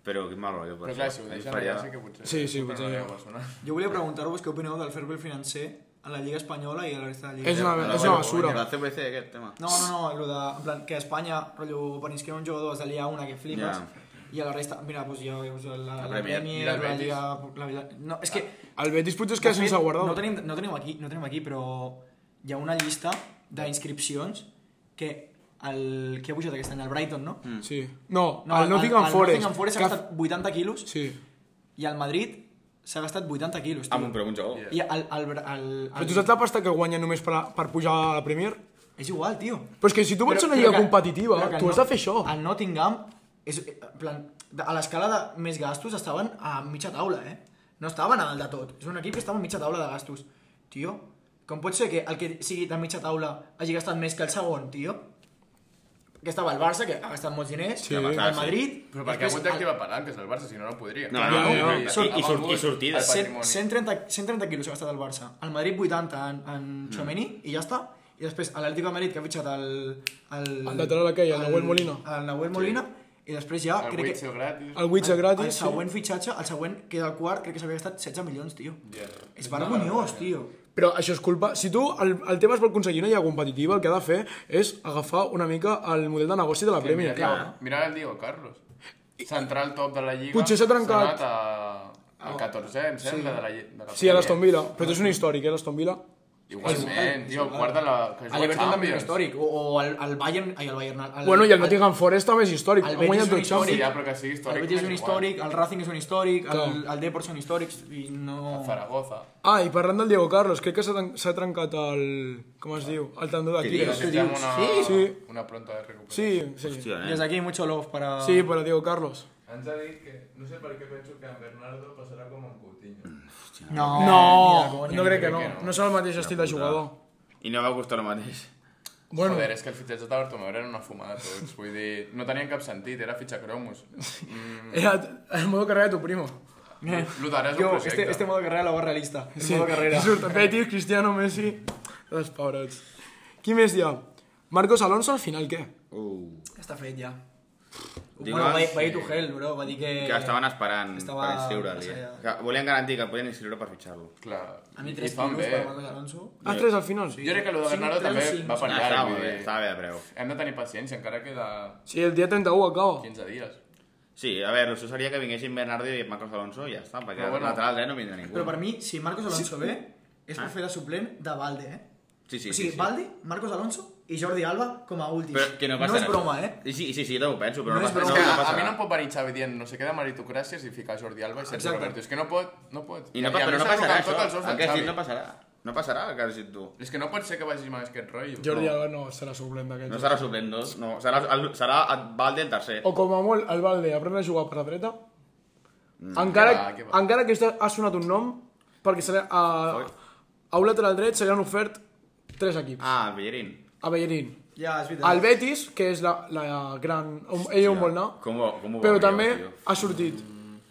Però quin mal rotllo. per Però això. clar, si ho Ell deixen faria- allà sí que potser... Sí, sí, però potser no ja. hi ha personal. Jo volia preguntar-vos què opineu del fair play financer a la Lliga Espanyola i a la resta de la Lliga. És una- Però és bueno, basura. La CVC, aquest tema. No, no, no, lo de, en plan, que a Espanya, rotllo, per inscriure un jugador has de liar una que flipes, i a la resta, mira, doncs ja veus la, la, la Premier. Premier, I la, el Betis. Lliga... La, la, no, és que... El Betis potser es de queda Ah. sense fet, guardar. No tenim, no tenim aquí, no tenim aquí, però hi ha una llista d'inscripcions que el que ha pujat aquest any, el Brighton, no? Mm. Sí. No, el Nottingham El Forest. Nottingham Forest que s'ha ha- gastat 80 quilos Sí. i el Madrid s'ha gastat 80 quilos, tio. Amb un Ah, però Ah, un jugador. I el... el, el, el, Però tu saps la pasta que guanya només per, a- per pujar a la Premier? És igual, tio. Però és que si tu vols una lliga que- competitiva, però que tu el has de Not- fer això. El Nottingham, és, eh, en plan, de- a l'escala de més gastos estaven a mitja taula, eh? No estaven a dalt de tot. És un equip que estava a mitja taula de gastos. Tio, com pot ser que el que sigui de mitja taula hagi gastat més que el segon, tio? Que estava el Barça, que ha gastat molts diners, Sí, el clar, sí. Madrid... Però perquè ha hagut d'activar palanques el Barça, si no, no podria. No, no, no, no. I- i sort- i sortides. El Cent- patrimoni. 130, 130 quilos ha gastat el Barça, el Madrid 80 en, en Mm. Tchouameni i ja està. I després l'Atlético de Madrid que ha fitxat el... El, El lateral aquell, el Nahuel Molina. El Nahuel Molina i després ja... El Witzel gratis. El Witzel gratis. El següent fitxatge, el següent que era el quart, crec que s'havia gastat 16 milions, tio. Ja. És vergonyós, tio. Però això és culpa... Si tu el, el tema es vol aconseguir una lliga competitiva, el que ha de fer és agafar una mica el model de negoci de la Premier. Mira, mira el Diego Carlos. Central top de la Lliga. Potser s'ha trencat. S'ha anat a... Ah, al 14, em sembla, de la, Lli- de la Sí, a l'Aston Premier. Villa. Però tu és un històric, eh, l'Aston Villa. Igualment, tio, guarda la... Que El Everton també és històric, o, o el, el Bayern... Ai, el Bayern... El, Bueno, i el Nottingham Forest també és històric. el Han Betis guanyat és un dos Sí, Champions. ja, però que sigui històric. El Betis és m'és un igual. històric, el Racing és un històric, el, Clar. el Depor són històrics, i no... Zaragoza. Ah, i parlant del Diego Carlos, crec que s'ha tren- s'ha trencat el... Com es diu? El tendó Però d'Aquiles. si fem una, Sí? Sí. una pronta de recuperació. Sí, sí. Hòstia, Des nen. d'aquí, mucho love para... Sí, però Diego Carlos. Ens ha dit que, no sé per què penso que en Bernardo passarà com en Coutinho. No, No, ni de no conya. crec que crec no. que no. No és el mateix estil de jugador. I no va gustar el mateix. Bueno, Joder, és que el fitxatge de Bartomeu era una fumada tots, vull dir, no tenien cap sentit, era fitxar cromos. era el modo carrera de tu primo. Eh. Lo d'ara és un Yo, projecte. este, este modo carrera lo va realista. Este modo carrera. Surt Betis, Cristiano, Messi... Els pobrets. Qui més hi ha? Marcos Alonso al final què? Uh. Està fet ja. Digues- bueno, va, dir- va dir Tuchel, bro, va dir que... ah, Que estaven esperant estava per inscriure'l. massa eh? allà. Que volien garantir que el podien inscriure per fitxar-lo. Clar, A mi i tres fan pilos bé. per Marcos Alonso. Ah, tres al final? Jo crec que lo de Cinc, Bernardo tres o també cinc, va per sí. Ah, llarg. estava vull bé, dir. estava bé de preu. Hem de tenir paciència, encara queda Sí, el dia 31 acaba. 15 dies. Sí, a veure, això seria que vinguessin Bernardo i Marcos Alonso i ja està, perquè Però bueno. bueno. lateral dret no vindrà ningú. Però per mi, si Marcos Alonso ve, és per Ah. fer de suplent de Valde, eh? Sí, sí, o sigui, sí, sí. Valde, Marcos Alonso i Jordi Alba com a últims. Però que no no passarà. és broma, eh? I Sí, sí, sí, també ho penso, però No no, és passa- broma. no, que no a, a passarà. mi no em pot venir Xavi dient no sé què de meritocràcies i ficar Jordi Alba i Sergi Exacte. Roberto. És que no pot, no pot. I no, a pa- mi però no s'ha passarà blocat això. tot els ous El del que has Xavi. dit no passarà. No passarà el que has dit tu. És que no pot ser que vagis amb aquest rotllo. Jordi No. Alba no serà suplent d'aquest. No serà suplent dos, no. Serà, el, serà el Valde el tercer. O com a molt, el Valde aprèn a jugar per la dreta. Encara, Que va, que va. encara que ha sonat un nom, perquè serà, a, a un lateral dret se li han ofert tres equips. Ah, el Bellerín. A Bellerín. Ja, és veritat. El Betis, que és la, la gran... on- Ell on vol anar. Com ho, com ho Però veuríeu, també tio? Mm. ha sortit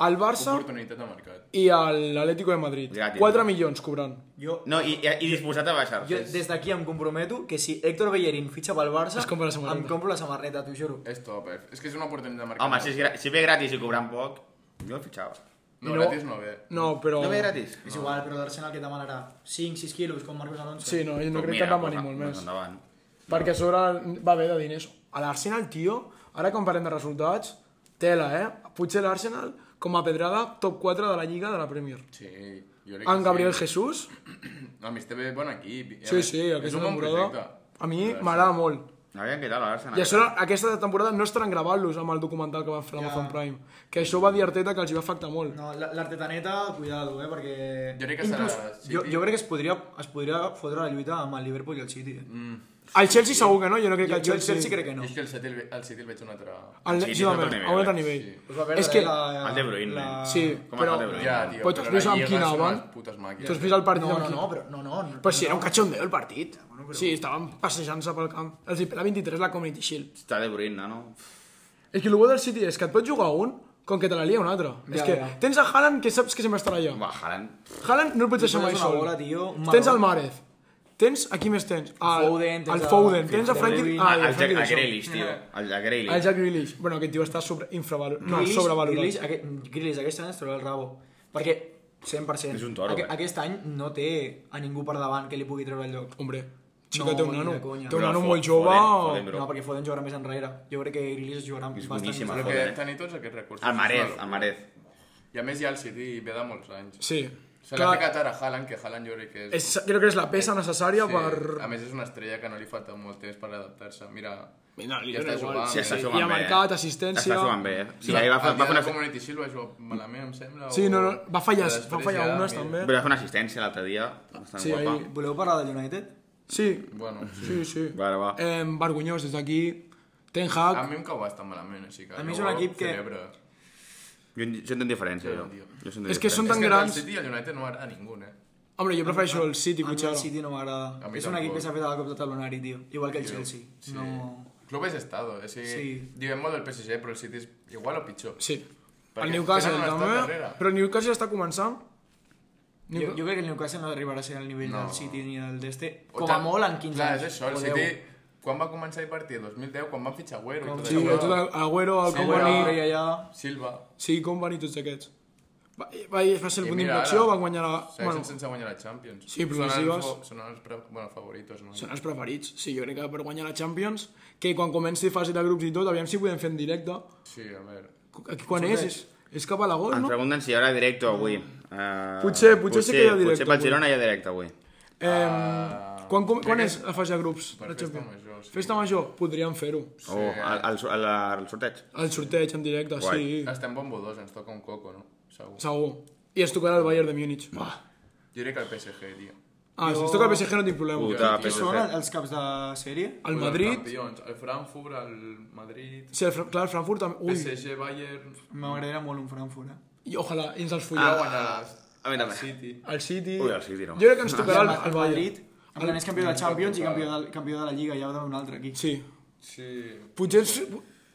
el Barça Oportunitat de mercat. i el- l'Atlético de Madrid. Gratis. 4 milions cobrant. Jo, No, i, i, i disposat a jo baixar-se. des d'aquí em comprometo que si Héctor Bellerín fitxa pel Barça, Es compra la samarreta. em compro la samarreta, t'ho juro. És top, eh? És que és una oportunitat de mercat. Home, si, és gra- si ve gratis i cobrant poc, jo el fitxava. No, No. gratis no ve. No, però... No ve gratis? És igual, però l'Arsenal que et demanarà 5-6 quilos com Marcos Alonso. Sí, no, jo no crec Doncs Pues mira, que demani doncs- molt doncs més. Endavant. Perquè a sobre va haver de diners. A l'Arsenal, tio, ara quan parlem de resultats, tela, eh? Potser l'Arsenal, com a pedrada, top 4 de la Lliga de la Premier. Sí, jo crec que En Ah, Gabriel sí. Jesús, No, a este mi té bé bon equip. I a sí, més, sí, és aquesta un bon temporada, projecte. a mi Gràcies. m'agrada molt. Aviam què tal, l'Arsenal. I a sobre, aquesta temporada no estaran gravant-los amb el documental que van fer a l'Amazon Prime. Que això va dir Arteta que els hi va afectar molt. No, la- l'Artetaneta, cuidado, eh, perquè... Jo crec que serà City. Jo, jo crec que es podria, es podria fotre la lluita amb el Liverpool i el City. eh. Mm. El Chelsea segur que no, jo no crec Jo, que el jo el Chelsea... Chelsea crec que no. És que el City el, ve- el City el veig un altre... El, Sí, sí, és un també, altre nivell, a un altre eh? nivell. Us va perdre eh, És que- la- El De Bruyne, eh. nen. Sí, Com però... ha estat el Bruyne? Ja, tio. Però tu has vist amb qui anaven? Putes màquines. Tu has vist el partit No, amb no, qui- no, però... No, no, no, Però sí, era un cachondeo el partit. Sí, estaven passejant-se pel camp. Els hi pela 23 la Community Shield. Està de Bruyne, no? no? És que el bo del City és que et pot jugar un com que te la lia un altre. és que ja. tens a Haaland que saps que sempre estarà allà. Va, Haaland. Haaland no el pots deixar mai poses una sol. bola, tio, un tens marró. el Márez. Tens, a qui més tens? El Foden, tens el a- Foden. Tens a Phil Frankie... Foden. Ah, i el, a Frankie Jack, el de Jong. Grealish, tio. El Jack Grealish. El Jack Grealish. Bueno, aquest tio està sobre, infravalorat. No, Grealish- Grealish, sobrevalorat. aquest, Grealish aquest any es trobarà el rabo. Perquè, 100%. És un toro, eh? Aquest any no té a ningú per davant que li pugui treure el lloc. Hombre, sí No, que té un ni de nano. conya. Té un Però nano Fo- molt jove. Foden- Foden, bro. No, perquè Foden jugarà més enrere. Jo crec que Grealish jugarà És bastant més boníssim, enrere. Però Joder. que tenir tots aquests recursos. El Marez, és una el locura. Marez. I a més ja el City ve de molts anys. Sí. Se l'ha Clar, ficat ara a Haaland, que Haaland jo crec que és... és, crec que és la peça necessària Sí, per... A més és una estrella que no li falta molt temps per adaptar-se. Mira, Mira, li ja dona està igual. jugant. Sí, està eh? jugant I ha bé. marcat eh? assistència. Està jugant bé, eh? Sí, ahir va, el fer- dia va fer de una... Community Shield va jugar malament, em sembla. Sí, o- no, no, va fallar, Però va després fallar ja, unes mira. també. Però va fer una assistència l'altre dia, bastant Sí, sí, guapa. ahir- Voleu parlar de United? Sí, Bueno, sí. sí, sí. Vale, va. Eh, vergonyós, des d'aquí. Ten A Hag. mi em cau bastant malament, així que... A mi és jo un equip que- celebro. Jo, en- jo entenc diferència, Sí, jo. tio. jo sento És que són És tan que el grans. City i el United no m'agrada a ningú, eh? Hombre, jo prefereixo el City, A mi el Puigdemont. City no m'agrada. A mi És un equip tampoc. que s'ha fet a la cop de talonari, tio. Igual que el Chelsea. Sí. No... Club és estado, és a dir, Sí. diguem molt del PSG, però el City és igual o pitjor. Sí. Perquè El Newcastle tenen un estat també, darrere. però el Newcastle està començant. Jo, jo crec que el Newcastle no arribarà a ser al nivell No. del City ni del d'este. O Com a tant- molt en 15 Clar, anys. és això, el o City... 10. Quan va començar el partit? 2010, quan van fitxar Agüero i tot Sí, això. tot el Agüero, el Sí, Company... Bueno, ja, ja. Silva. Sí, Company, tots aquests. Va, va, va ser el I punt mira, d'inflexió, ara, van guanyar la... Segueixen Bueno, sense guanyar la Champions. Sí, però són les els, lligues- fo- són els pre... bueno, favoritos, no? són els preferits. Sí, jo crec que per guanyar la Champions, que quan comenci fase de grups i tot, aviam si podem fer en directe. Sí, a veure. Aquí quan és? És, és cap a l'agost, Ens no? pregunten si hi haurà directe avui. Uh, Potser- potser sí que hi ha directe Potser pel avui. Girona hi ha directe avui. Em, Ah, Eh, quan, com, quan és la fase de grups? Per la festa Champions? major, sí. Festa major? Podríem fer-ho. Oh, el, el, el, el sorteig. El sorteig en directe, Guai. sí. Estem bombo dos, ens toca un coco, no? Segur. Segur. I es tocarà el Bayern de Múnich. Jo crec que el PSG, tio. Ah, si es toca el PSG no tinc problema. Puta, tio, Qui són PSG. els caps de sèrie? El Ui, els Madrid... Campions, el Frankfurt, el Madrid... Sí, el, Fra- clar, el Frankfurt també... Ui, PSG, Bayern... M'agradaria molt un Frankfurt, eh? i ojalà, i ens els Ah, folleu. A mi el també. City... El City... Ui, el City no. Jo crec que ens tocarà el, Ma- el Bayern. En plan, és campió de Champions i campió de, campió de la Lliga, ja ho d'un altre aquí. Sí. Sí... Potser... ens-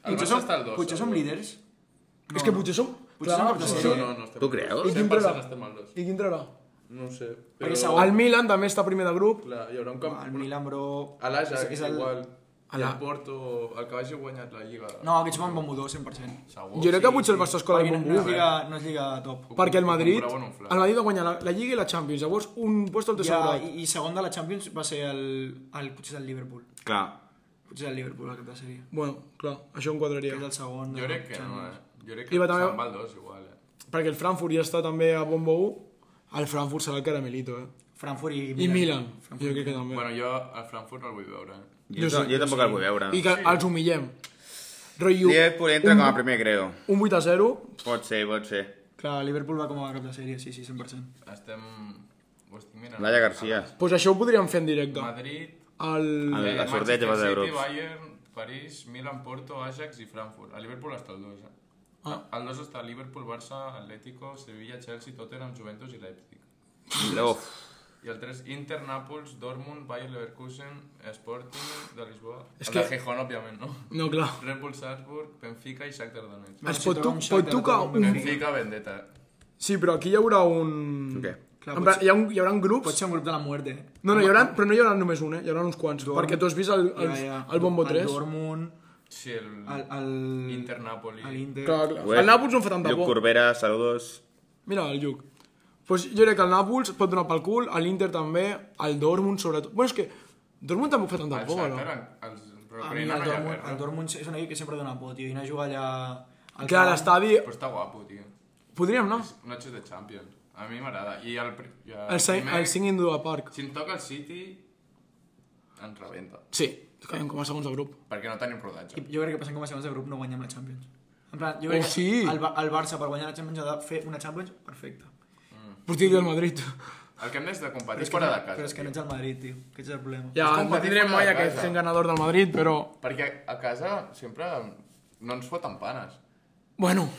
El Barça som, està al dos, potser som segur. líders. És que potser som... Potser som Clar, els sí. No, no, no estem Tu al dos. creus? I quin 100% trarà? estem al dos. I quin trarà? No ho sé, Perquè però... segur- El Milan també està primer de grup. Clar, hi haurà un El camp... Milan, bro... A l'Ajax, és- és el- igual. I el Porto, el que vagi guanyat la Lliga. No, aquests van bon motor, 100%. Segur, Jo crec que Oh, sí, potser el sí. Barça escola Perquè d'un no, no, és bombo. lliga, no és lliga top. Perquè el Madrid, Ho comprava en un flash. el Madrid va guanyar la, la Lliga i la Champions, llavors un puesto el té Ja, sobrat. i, I segon de la Champions va ser el, el potser el Liverpool. Clar, Potser el Liverpool aquest va ser. Bueno, clar, això ho enquadraria. És el segon. de Jo la crec que no, Champions. eh? Jo crec I que va també- se'n va el dos, igual, eh? Perquè el Frankfurt ja està també a bombo 1, el Frankfurt serà el caramelito, eh? Frankfurt i I Milan. Milan, jo crec que també. Bueno, jo al Frankfurt no el vull veure, eh? jo, sé, ta- jo tampoc el vull veure. I que els humillem. Rotllo, Liverpool entra com a primer creo. un 8 a 0, Pot ser, pot ser. Clar, Liverpool va com a cap de sèrie, sí, sí, 100%. Estem... Ho estic mirant. Laia Garcia. doncs això ho podríem fer en directe. Madrid, El... A eh, veure, la sorteig Manchester va ser City, Europe. Bayern, París, Milan, Porto, Ajax i Frankfurt. A Liverpool està el 2, eh? Ah. El 2 està Liverpool, Barça, Atlético, Sevilla, Chelsea, Tottenham, Juventus i Leipzig. Ah. Uf, I el 3, Inter, Nàpols, Dortmund, Bayer Leverkusen, Sporting de Lisboa. És el que- de Gijón, òbviament, no? No, clar. Red Bull Salzburg, Benfica i Shakhtar Donetsk. Es si pot, toca un tu, Shakhtar, pot tocar toca un un... Benfica, vendetta. Sí, però aquí hi haurà un... Què? Clar, en pot plan, hi, ha un, hi haurà grups... Pot ser un grup de la muerte. eh. No, no, hi haurà, però no hi haurà només un, eh? Hi haurà uns quants. Perquè tu has vist el, el, el Bombo 3. El Dortmund, Sí, el... el... el... Inter, Napoli. A l'Inter. Clar, clar. El Nàpols no em fa tanta Lluc por. Corbera, saludos. Mira, el Lluc. Pues jo crec que el Nàpols pot donar pel cul, a l'Inter també, al Dortmund sobretot. Bueno, és que Dortmund tampoc fa tanta El por, no? Shakhtar, en- els... Però A mi Ucraïna no hi el ha Dortmund, guerra. el Dortmund és una equip que sempre dona por, tio. I anar a jugar allà... al Clar, camp. l'estadi... Però està guapo, tio. Podríem anar. Noches de Champions. A mi m'agrada. I el, pri- i El, si- el 5 Indua Park. Si em toca el City, ens rebenta. Sí, caiem com a segons de grup. Perquè no tenim I rodatge. jo crec que passant com a segons de grup no guanyem la Champions. En plan, jo crec Oh, que sí. el, Ba- el Barça per guanyar la Champions ha de fer una Champions perfecta. Mm. Portir del Madrid. El que hem de competir és és que, fora no- de casa. però és que no ets el Madrid, tio. Aquest és el problema. Ja, És com no patir tindrem fora mai de aquest casa. sent ganador del Madrid, però... Perquè a casa sempre no ens foten panes. Bueno,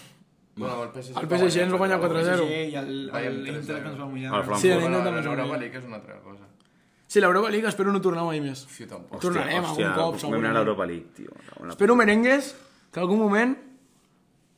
Bueno, el PSG, El PSG ens va guanyar 4-0. Sí, i el, Bayern el Inter 3-0. que ens va mullar. El Frankfurt. Sí, a Bueno, l'Inter també la ens va Europa guanyar. League és una altra cosa. Sí, l'Europa League espero no tornar mai més. Jo tampoc. Hòstia. Tornarem algun cop, Vam anar segurament. a l'Europa League, tio. Una... Espero, merengues, que algun moment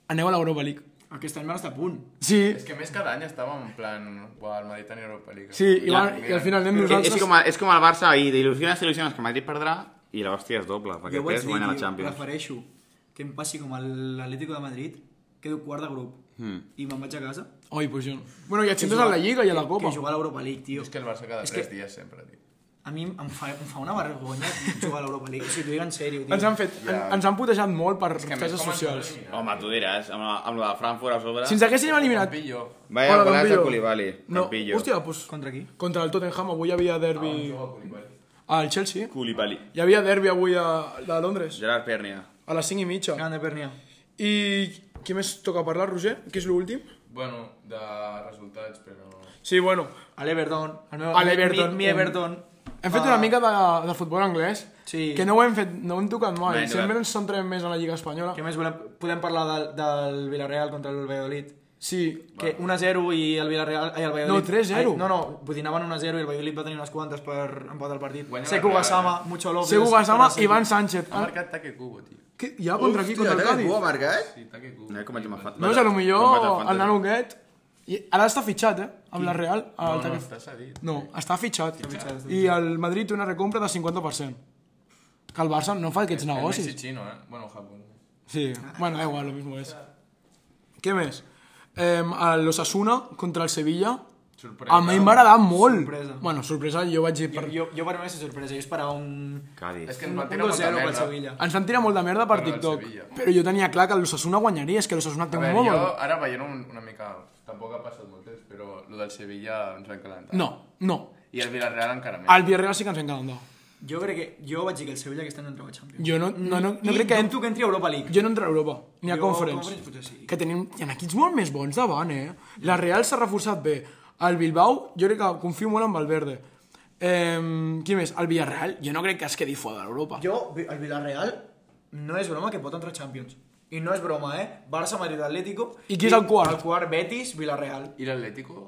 aneu a l'Europa League. Aquest any van estar a punt. Sí, És que més cada any estàvem en plan... Buah, el Madrid tenia Europa League. sí, i, va, i al final anem És, nosaltres... és, com, a- és com el Barça, i d'il·lusiones, il·lusiones, que el Madrid perdrà, i la hòstia es dobla, perquè jo vaig després dir, guanya la tio, Champions. prefereixo que em passi com a l'Atlético de Madrid, quedo quart de grup, Hmm. i me'n vaig a casa. Oi, pues jo... no. Bueno, i et sentes a la Lliga i a la Copa. Que jugar a l'Europa League, tio. És que el Barça cada És 3 que- dies sempre, tio. A mi em em fa, em fa una vergonya jugar a l'Europa League. O sigui, t'ho dic en sèrio, tio. Ens han fet... en- Ens han putejat molt per que a més, festes com ens socials. eliminen? Home, tu diràs, amb, la, amb la de Frankfurt a sobre... Si ens haguéssim eliminat... Campillo. Vaya Hola, golaç de Campillo. Koulibaly, No, Campillo. hòstia, pues... Contra qui? Contra el Tottenham avui hi havia derbi... Juga a Koulibaly. Al Chelsea. Koulibaly. Hi havia derbi avui a, a Londres, Gerard Pernia. a les 5 i mitja. Gran de Pernia. I qui més toca parlar, Roger? Què és l'últim? Bueno, de resultats, però... Sí, bueno. A l'Everton. el meu- A l'Everton. Mi, mi Everton. Hem Ah. fet una mica de, de futbol anglès, Sí. que no ho hem fet, no ho hem tocat mai. Mai, no. eh. Sempre ens centrem més a la Lliga Espanyola. Què més volem? Podem parlar del, del Villarreal contra el Valladolid. Sí, Que 1-0 i el Villarreal... Ai, el Valladolid... No, 3-0. Ai, No, no, vull dir, anaven 1-0 i el Valladolid va tenir unes quantes per empatar el partit. Guanya Seku la Real, Gassama, Mucho López... Segu Gassama, Seku. Ivan Sánchez. Ha Ah, marcat Take Cubo, tio. què? Ja contra aquí, contra el Hòstia, Cádiz. Ho ha marcat? eh? Sí, Take Cubo. No, com vaig amb el No, és a lo millor el nano aquest. I ara està fitxat, eh? Amb la Real. No, al no, Taque- està cedit. no, està fitxat. fitxat, I el Madrid té una recompra del 50%. Que el Barça no fa aquests El Messi negocis. chino, eh? Bueno, Japón. Sí, bueno, da igual, lo mismo és. Què més? Eh, L'Osasuna contra el Sevilla. Sorpresa. A mi m'ha agradat molt. Sorpresa. Bueno, sorpresa, jo vaig dir... Jo, Per... jo, jo per mi va ser sorpresa, jo esperava un... És Cádiz. que Un, ens un van tirar molta 2-0 pel merda. Sevilla. Ens van tirar molt de merda per Però el TikTok. Sevilla. Però jo tenia clar que l'Osasuna guanyaria, és que l'Osasuna té A un veure, molt jo bon... ara veient un, una mica... Tampoc ha passat molt temps, però lo del Sevilla ens van calentar. No, no. I el Villarreal encara més. Al Villarreal sí que ens hem quedat. no. Jo crec que... Jo vaig dir que el Sevilla aquest any no entrava a Champions. Jo no, no, no, no crec que... tu que entri a Europa League. Jo no entro a Europa, ni a Jo, Conference. Conference potser sí. Que tenim... Hi ha equips molt més bons davant, eh? La Real s'ha reforçat bé. El Bilbao, jo crec que confio molt en Valverde. Eh, qui més? El Villarreal, jo no crec que es quedi fora d'Europa. Jo, el Villarreal, no és broma que pot entrar a Champions. I no és broma, eh? Barça, Madrid, Atlético... I qui és el quart? El quart, Betis, Villarreal. I l'Atlético?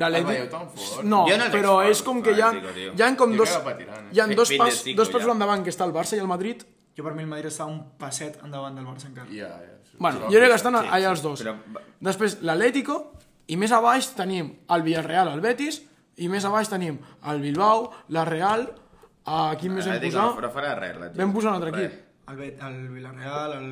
L'Atleti- El Bayou tan fort. No, Jo no el veig però fort, és com que hi ha, Atlético, tio. hi ha com Jo dos, crec que va patirant, eh? hi ha dos Fit de pas, cinco, dos passos ja. endavant que està el Barça i el Madrid. Jo per mi el Madrid està un passet endavant del Barça encara. Ja, ja. Bueno, jo crec que estan sí, allà els dos. però- Després l'Atlético i més a baix tenim el Villarreal, el Betis i més a baix tenim el Bilbao, la Real, Aquí més hem Atlètic no, posat... no farà res, l'Atlètic. Vam posar un altre equip. El, Bet- el Villarreal, el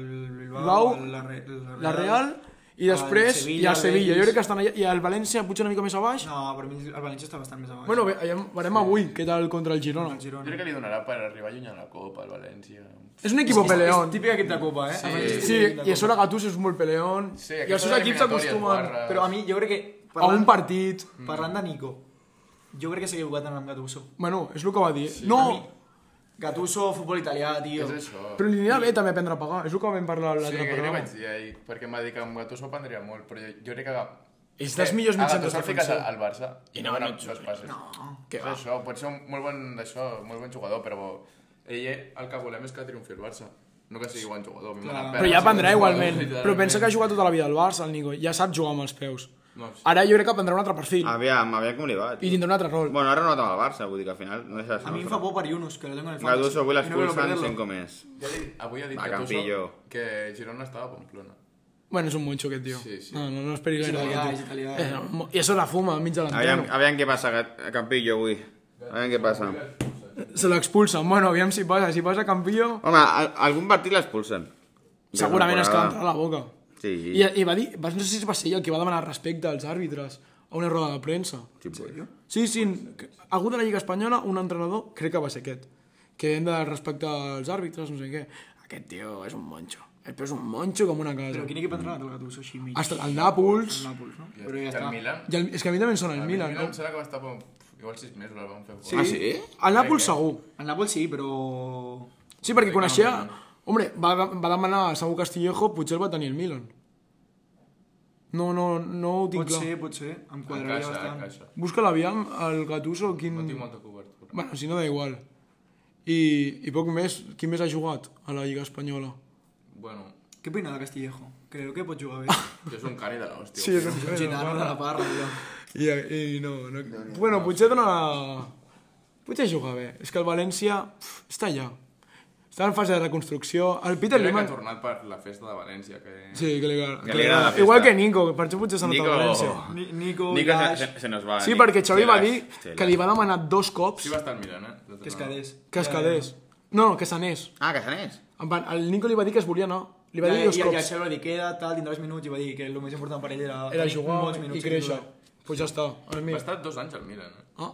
Bilbao, Bilbao, el la, Re- la, La Real i després i el Sevilla. Jo crec que estan allà. I el València potser una mica més a baix. No, per mi el València està bastant més avall. Bueno, ve, ja veurem avui què tal contra el Girona. el Jo Girona. crec que li donarà per arribar lluny a la Copa, al València... És un equip peleón. Típic equip de Copa, eh? Sí, Sí, i a sobre Gattuso és molt peleón. Sí, I els aquestes seus equips eliminatòries, s'acostumen barra- Però a mi, jo crec que... a un partit. Parlant de Nico, jo crec que s'ha equivocat en amb Gattuso. Bueno, és el que va dir. A mi, No, Gattuso, futbol italià, tio. És això. però li anirà bé també aprendre a pagar. És el que vam parlar Sí, l'altre que jo li programa. vaig dir ahir, perquè em va dir que amb Gattuso aprendria molt, però jo, jo crec que... És dels millors mitjans defensa. defensius. fiques al, al Barça i no van dos Pues passes. No, que és va. això, pot ser un molt bon, d'això, molt bon jugador, però ell el que volem és que triomfi el Barça. No que sigui bon jugador. a mi m'agrada Però ja perdre, aprendrà ser bon igualment. jugador, Però pensa que ha literalment. jugat tota la vida al Barça, el Nico. Ja sap jugar amb els peus. No, sí. Ara jo crec que aprendrà un altre perfil. Aviam, aviam com li va. I tio. tindrà un altre rol. Bueno, ara no anat amb el Barça, vull dir que al final no deixa de ser... A mi em fa por per Yunus, que lo tengo en el fantasy. Gattuso, avui I no quiero l'expulsen perderlo. 5 més. Ja he dit- avui ha dit Va, Gattuso Campillo. que Girona estava a Pamplona. Bueno, és un monxo aquest tio. Sí, sí. No, no, no esperis És gaire italià, d'aquest és tio. italià. Eh, no, I això la fuma enmig de Aviam, l'entreno. aviam què passa a a Campillo avui. Aviam què passa. Se l'expulsen. Bueno, aviam si passa. Si passa Campillo, Home, a, algun partit l'expulsen. De segurament es temporada. quedarà a la boca. Sí, sí. I, I va dir, va, no sé si va ser ell el que va demanar respecte als àrbitres a una roda de premsa. Sí, pues. Sí, sí, que- algú de la Lliga Espanyola, un entrenador, crec que va ser aquest, que hem de respectar als àrbitres, no sé què. Aquest tio és un monxo. Eh, Però és un monxo com una casa. Però quin equip ha entrenat el Gattuso així mig? Ha estat al Nàpols, El Nàpols, no? I Però el ja està. Milan... i el, és que a mi també em sona el El Milan, Milan no? em sembla que va estar com, igual 6 mesos, el van fer fora. Ah, sí? Al Nàpols segur. El Nàpols sí, però... Sí, perquè coneixia... Hombre, va, va demanar a Samu Castillejo, potser el va tenir el Milan. No, no, no ho tinc Pot clar. ser, pot ser. Em quadraria Encaixa, bastant. encaixa. Busca l'aviam, el Gattuso, quin... No tinc molta cobertura. Bueno, si no, da igual. I, I poc més, qui més ha jugat a la Lliga Espanyola? Bueno, Què opina de Castillejo? Creo que pot jugar bé. és un cani de l'hòstia. Sí, és un Gitano de la parra, tio. I, i no, no... bueno, potser dona... Potser juga bé. És que el València pf, està allà. Està en fase de reconstrucció. El Peter Crec que ha Lehmann... tornat per la festa de València, que... Sí, que li, agrada. Que li agrada la Igual festa. que Nico, que per això potser s'ha notat el València. Nico... Ni- Nico, Nico se, Lash, se, se nos va. Sí, Nico. perquè Xavi va Telas, dir que telas. li va demanar dos cops Sí va estar mirant, eh? que es quedés. que es quedés. No, no, que se n'és. Ah, que se n'és. En plan, El Nico li va dir que es volia anar. Li va Ja, dir dos ja, ja, cops. Xavi va dir, queda, tal, tindràs minuts, i va dir que el més important per ell era... Era tenir jugar molts minuts i créixer. titular. Doncs pues ja està. A mi. Va estar dos anys al Milan, eh? Ah,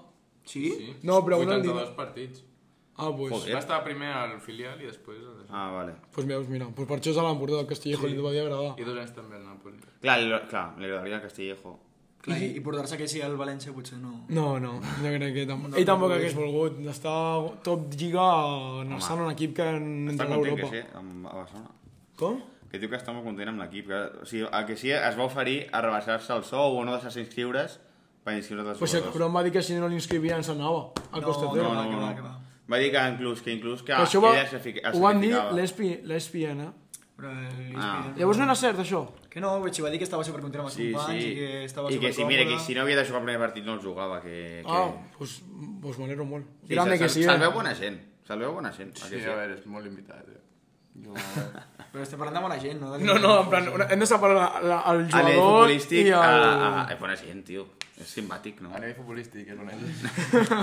Sí? Sí. No, però un al 82 partits. ah pues. Joder. Va estar primer al filial i després... al Deixar. Ah, vale. Pues mira, pues mira. Pues per això se l'han portat al Castillejo, sí. li devia agradar. I dos anys també al Napoli. Clar, li, clar, li agradaria a Castillejo. Clar, i, i portar-se que sí al València potser no... No, no, jo crec que tampoc. Ell tampoc hagués volgut estar top lliga anar-se'n a un equip que Està entra a content que Europa. sí, amb, a Barcelona. Com? Que diu que està molt content amb l'equip. que- O sigui, el que sí es va oferir a rebaixar-se el sou o no deixar-se inscriure's per inscriure els Pues el Curon va dir que si no l'inscrivien se'n anava a No, Costa no, Terra. no, no, que va, no, que va. no. Va dir que inclús, que inclús que Però això va, ella se fica- es ho van dir sacrificava. l'espi- l'espien, eh? Però el Ah. Lluís Pires- Llavors no era cert, això? Que no, Betxi va dir que estava supercontent amb els Sí, companys sí. i que estava I que si, mira, que supercòmode. si no havia de jugar el primer partit no el jugava, que... que... Ah, pues, pues m'alegro molt. Sí, Grande se'l- que sí, Se'l eh? veu bona gent. Se'l veu bona gent. a Sí, Ah, que a veure, és molt limitat, eh? Jo... Però estem parlant de bona gent, no? De- No, no, en plan, una- hem de separar la, la, el A nivell jugador i futbolístic, el... a, a, a, bona gent, tio. És simpàtic, no? A nivell futbolístic, eh, és un any.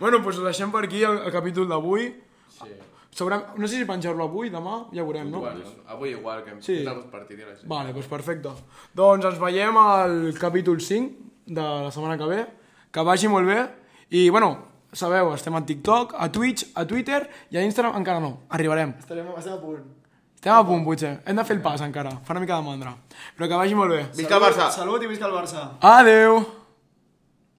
Bueno, doncs pues deixem per aquí el, el capítol d'avui. Sí. Sobre... No sé si penjar-lo avui, demà, ja ho veurem, no? Igual, avui igual, que hem Sí. fet alguns partits i la gent. Vale, doncs perfecte. Doncs ens veiem al capítol 5 de la setmana que ve. Que vagi molt bé. I, bueno, sabeu, estem a TikTok, a Twitch, a Twitter i a Instagram encara no. Arribarem. Estarem, estem a punt. Estem a punt, potser. Hem de fer el pas encara. Fa una mica de mandra. Però que vagi molt bé. Visca el Barça! Salut i visca el Barça. Adeu!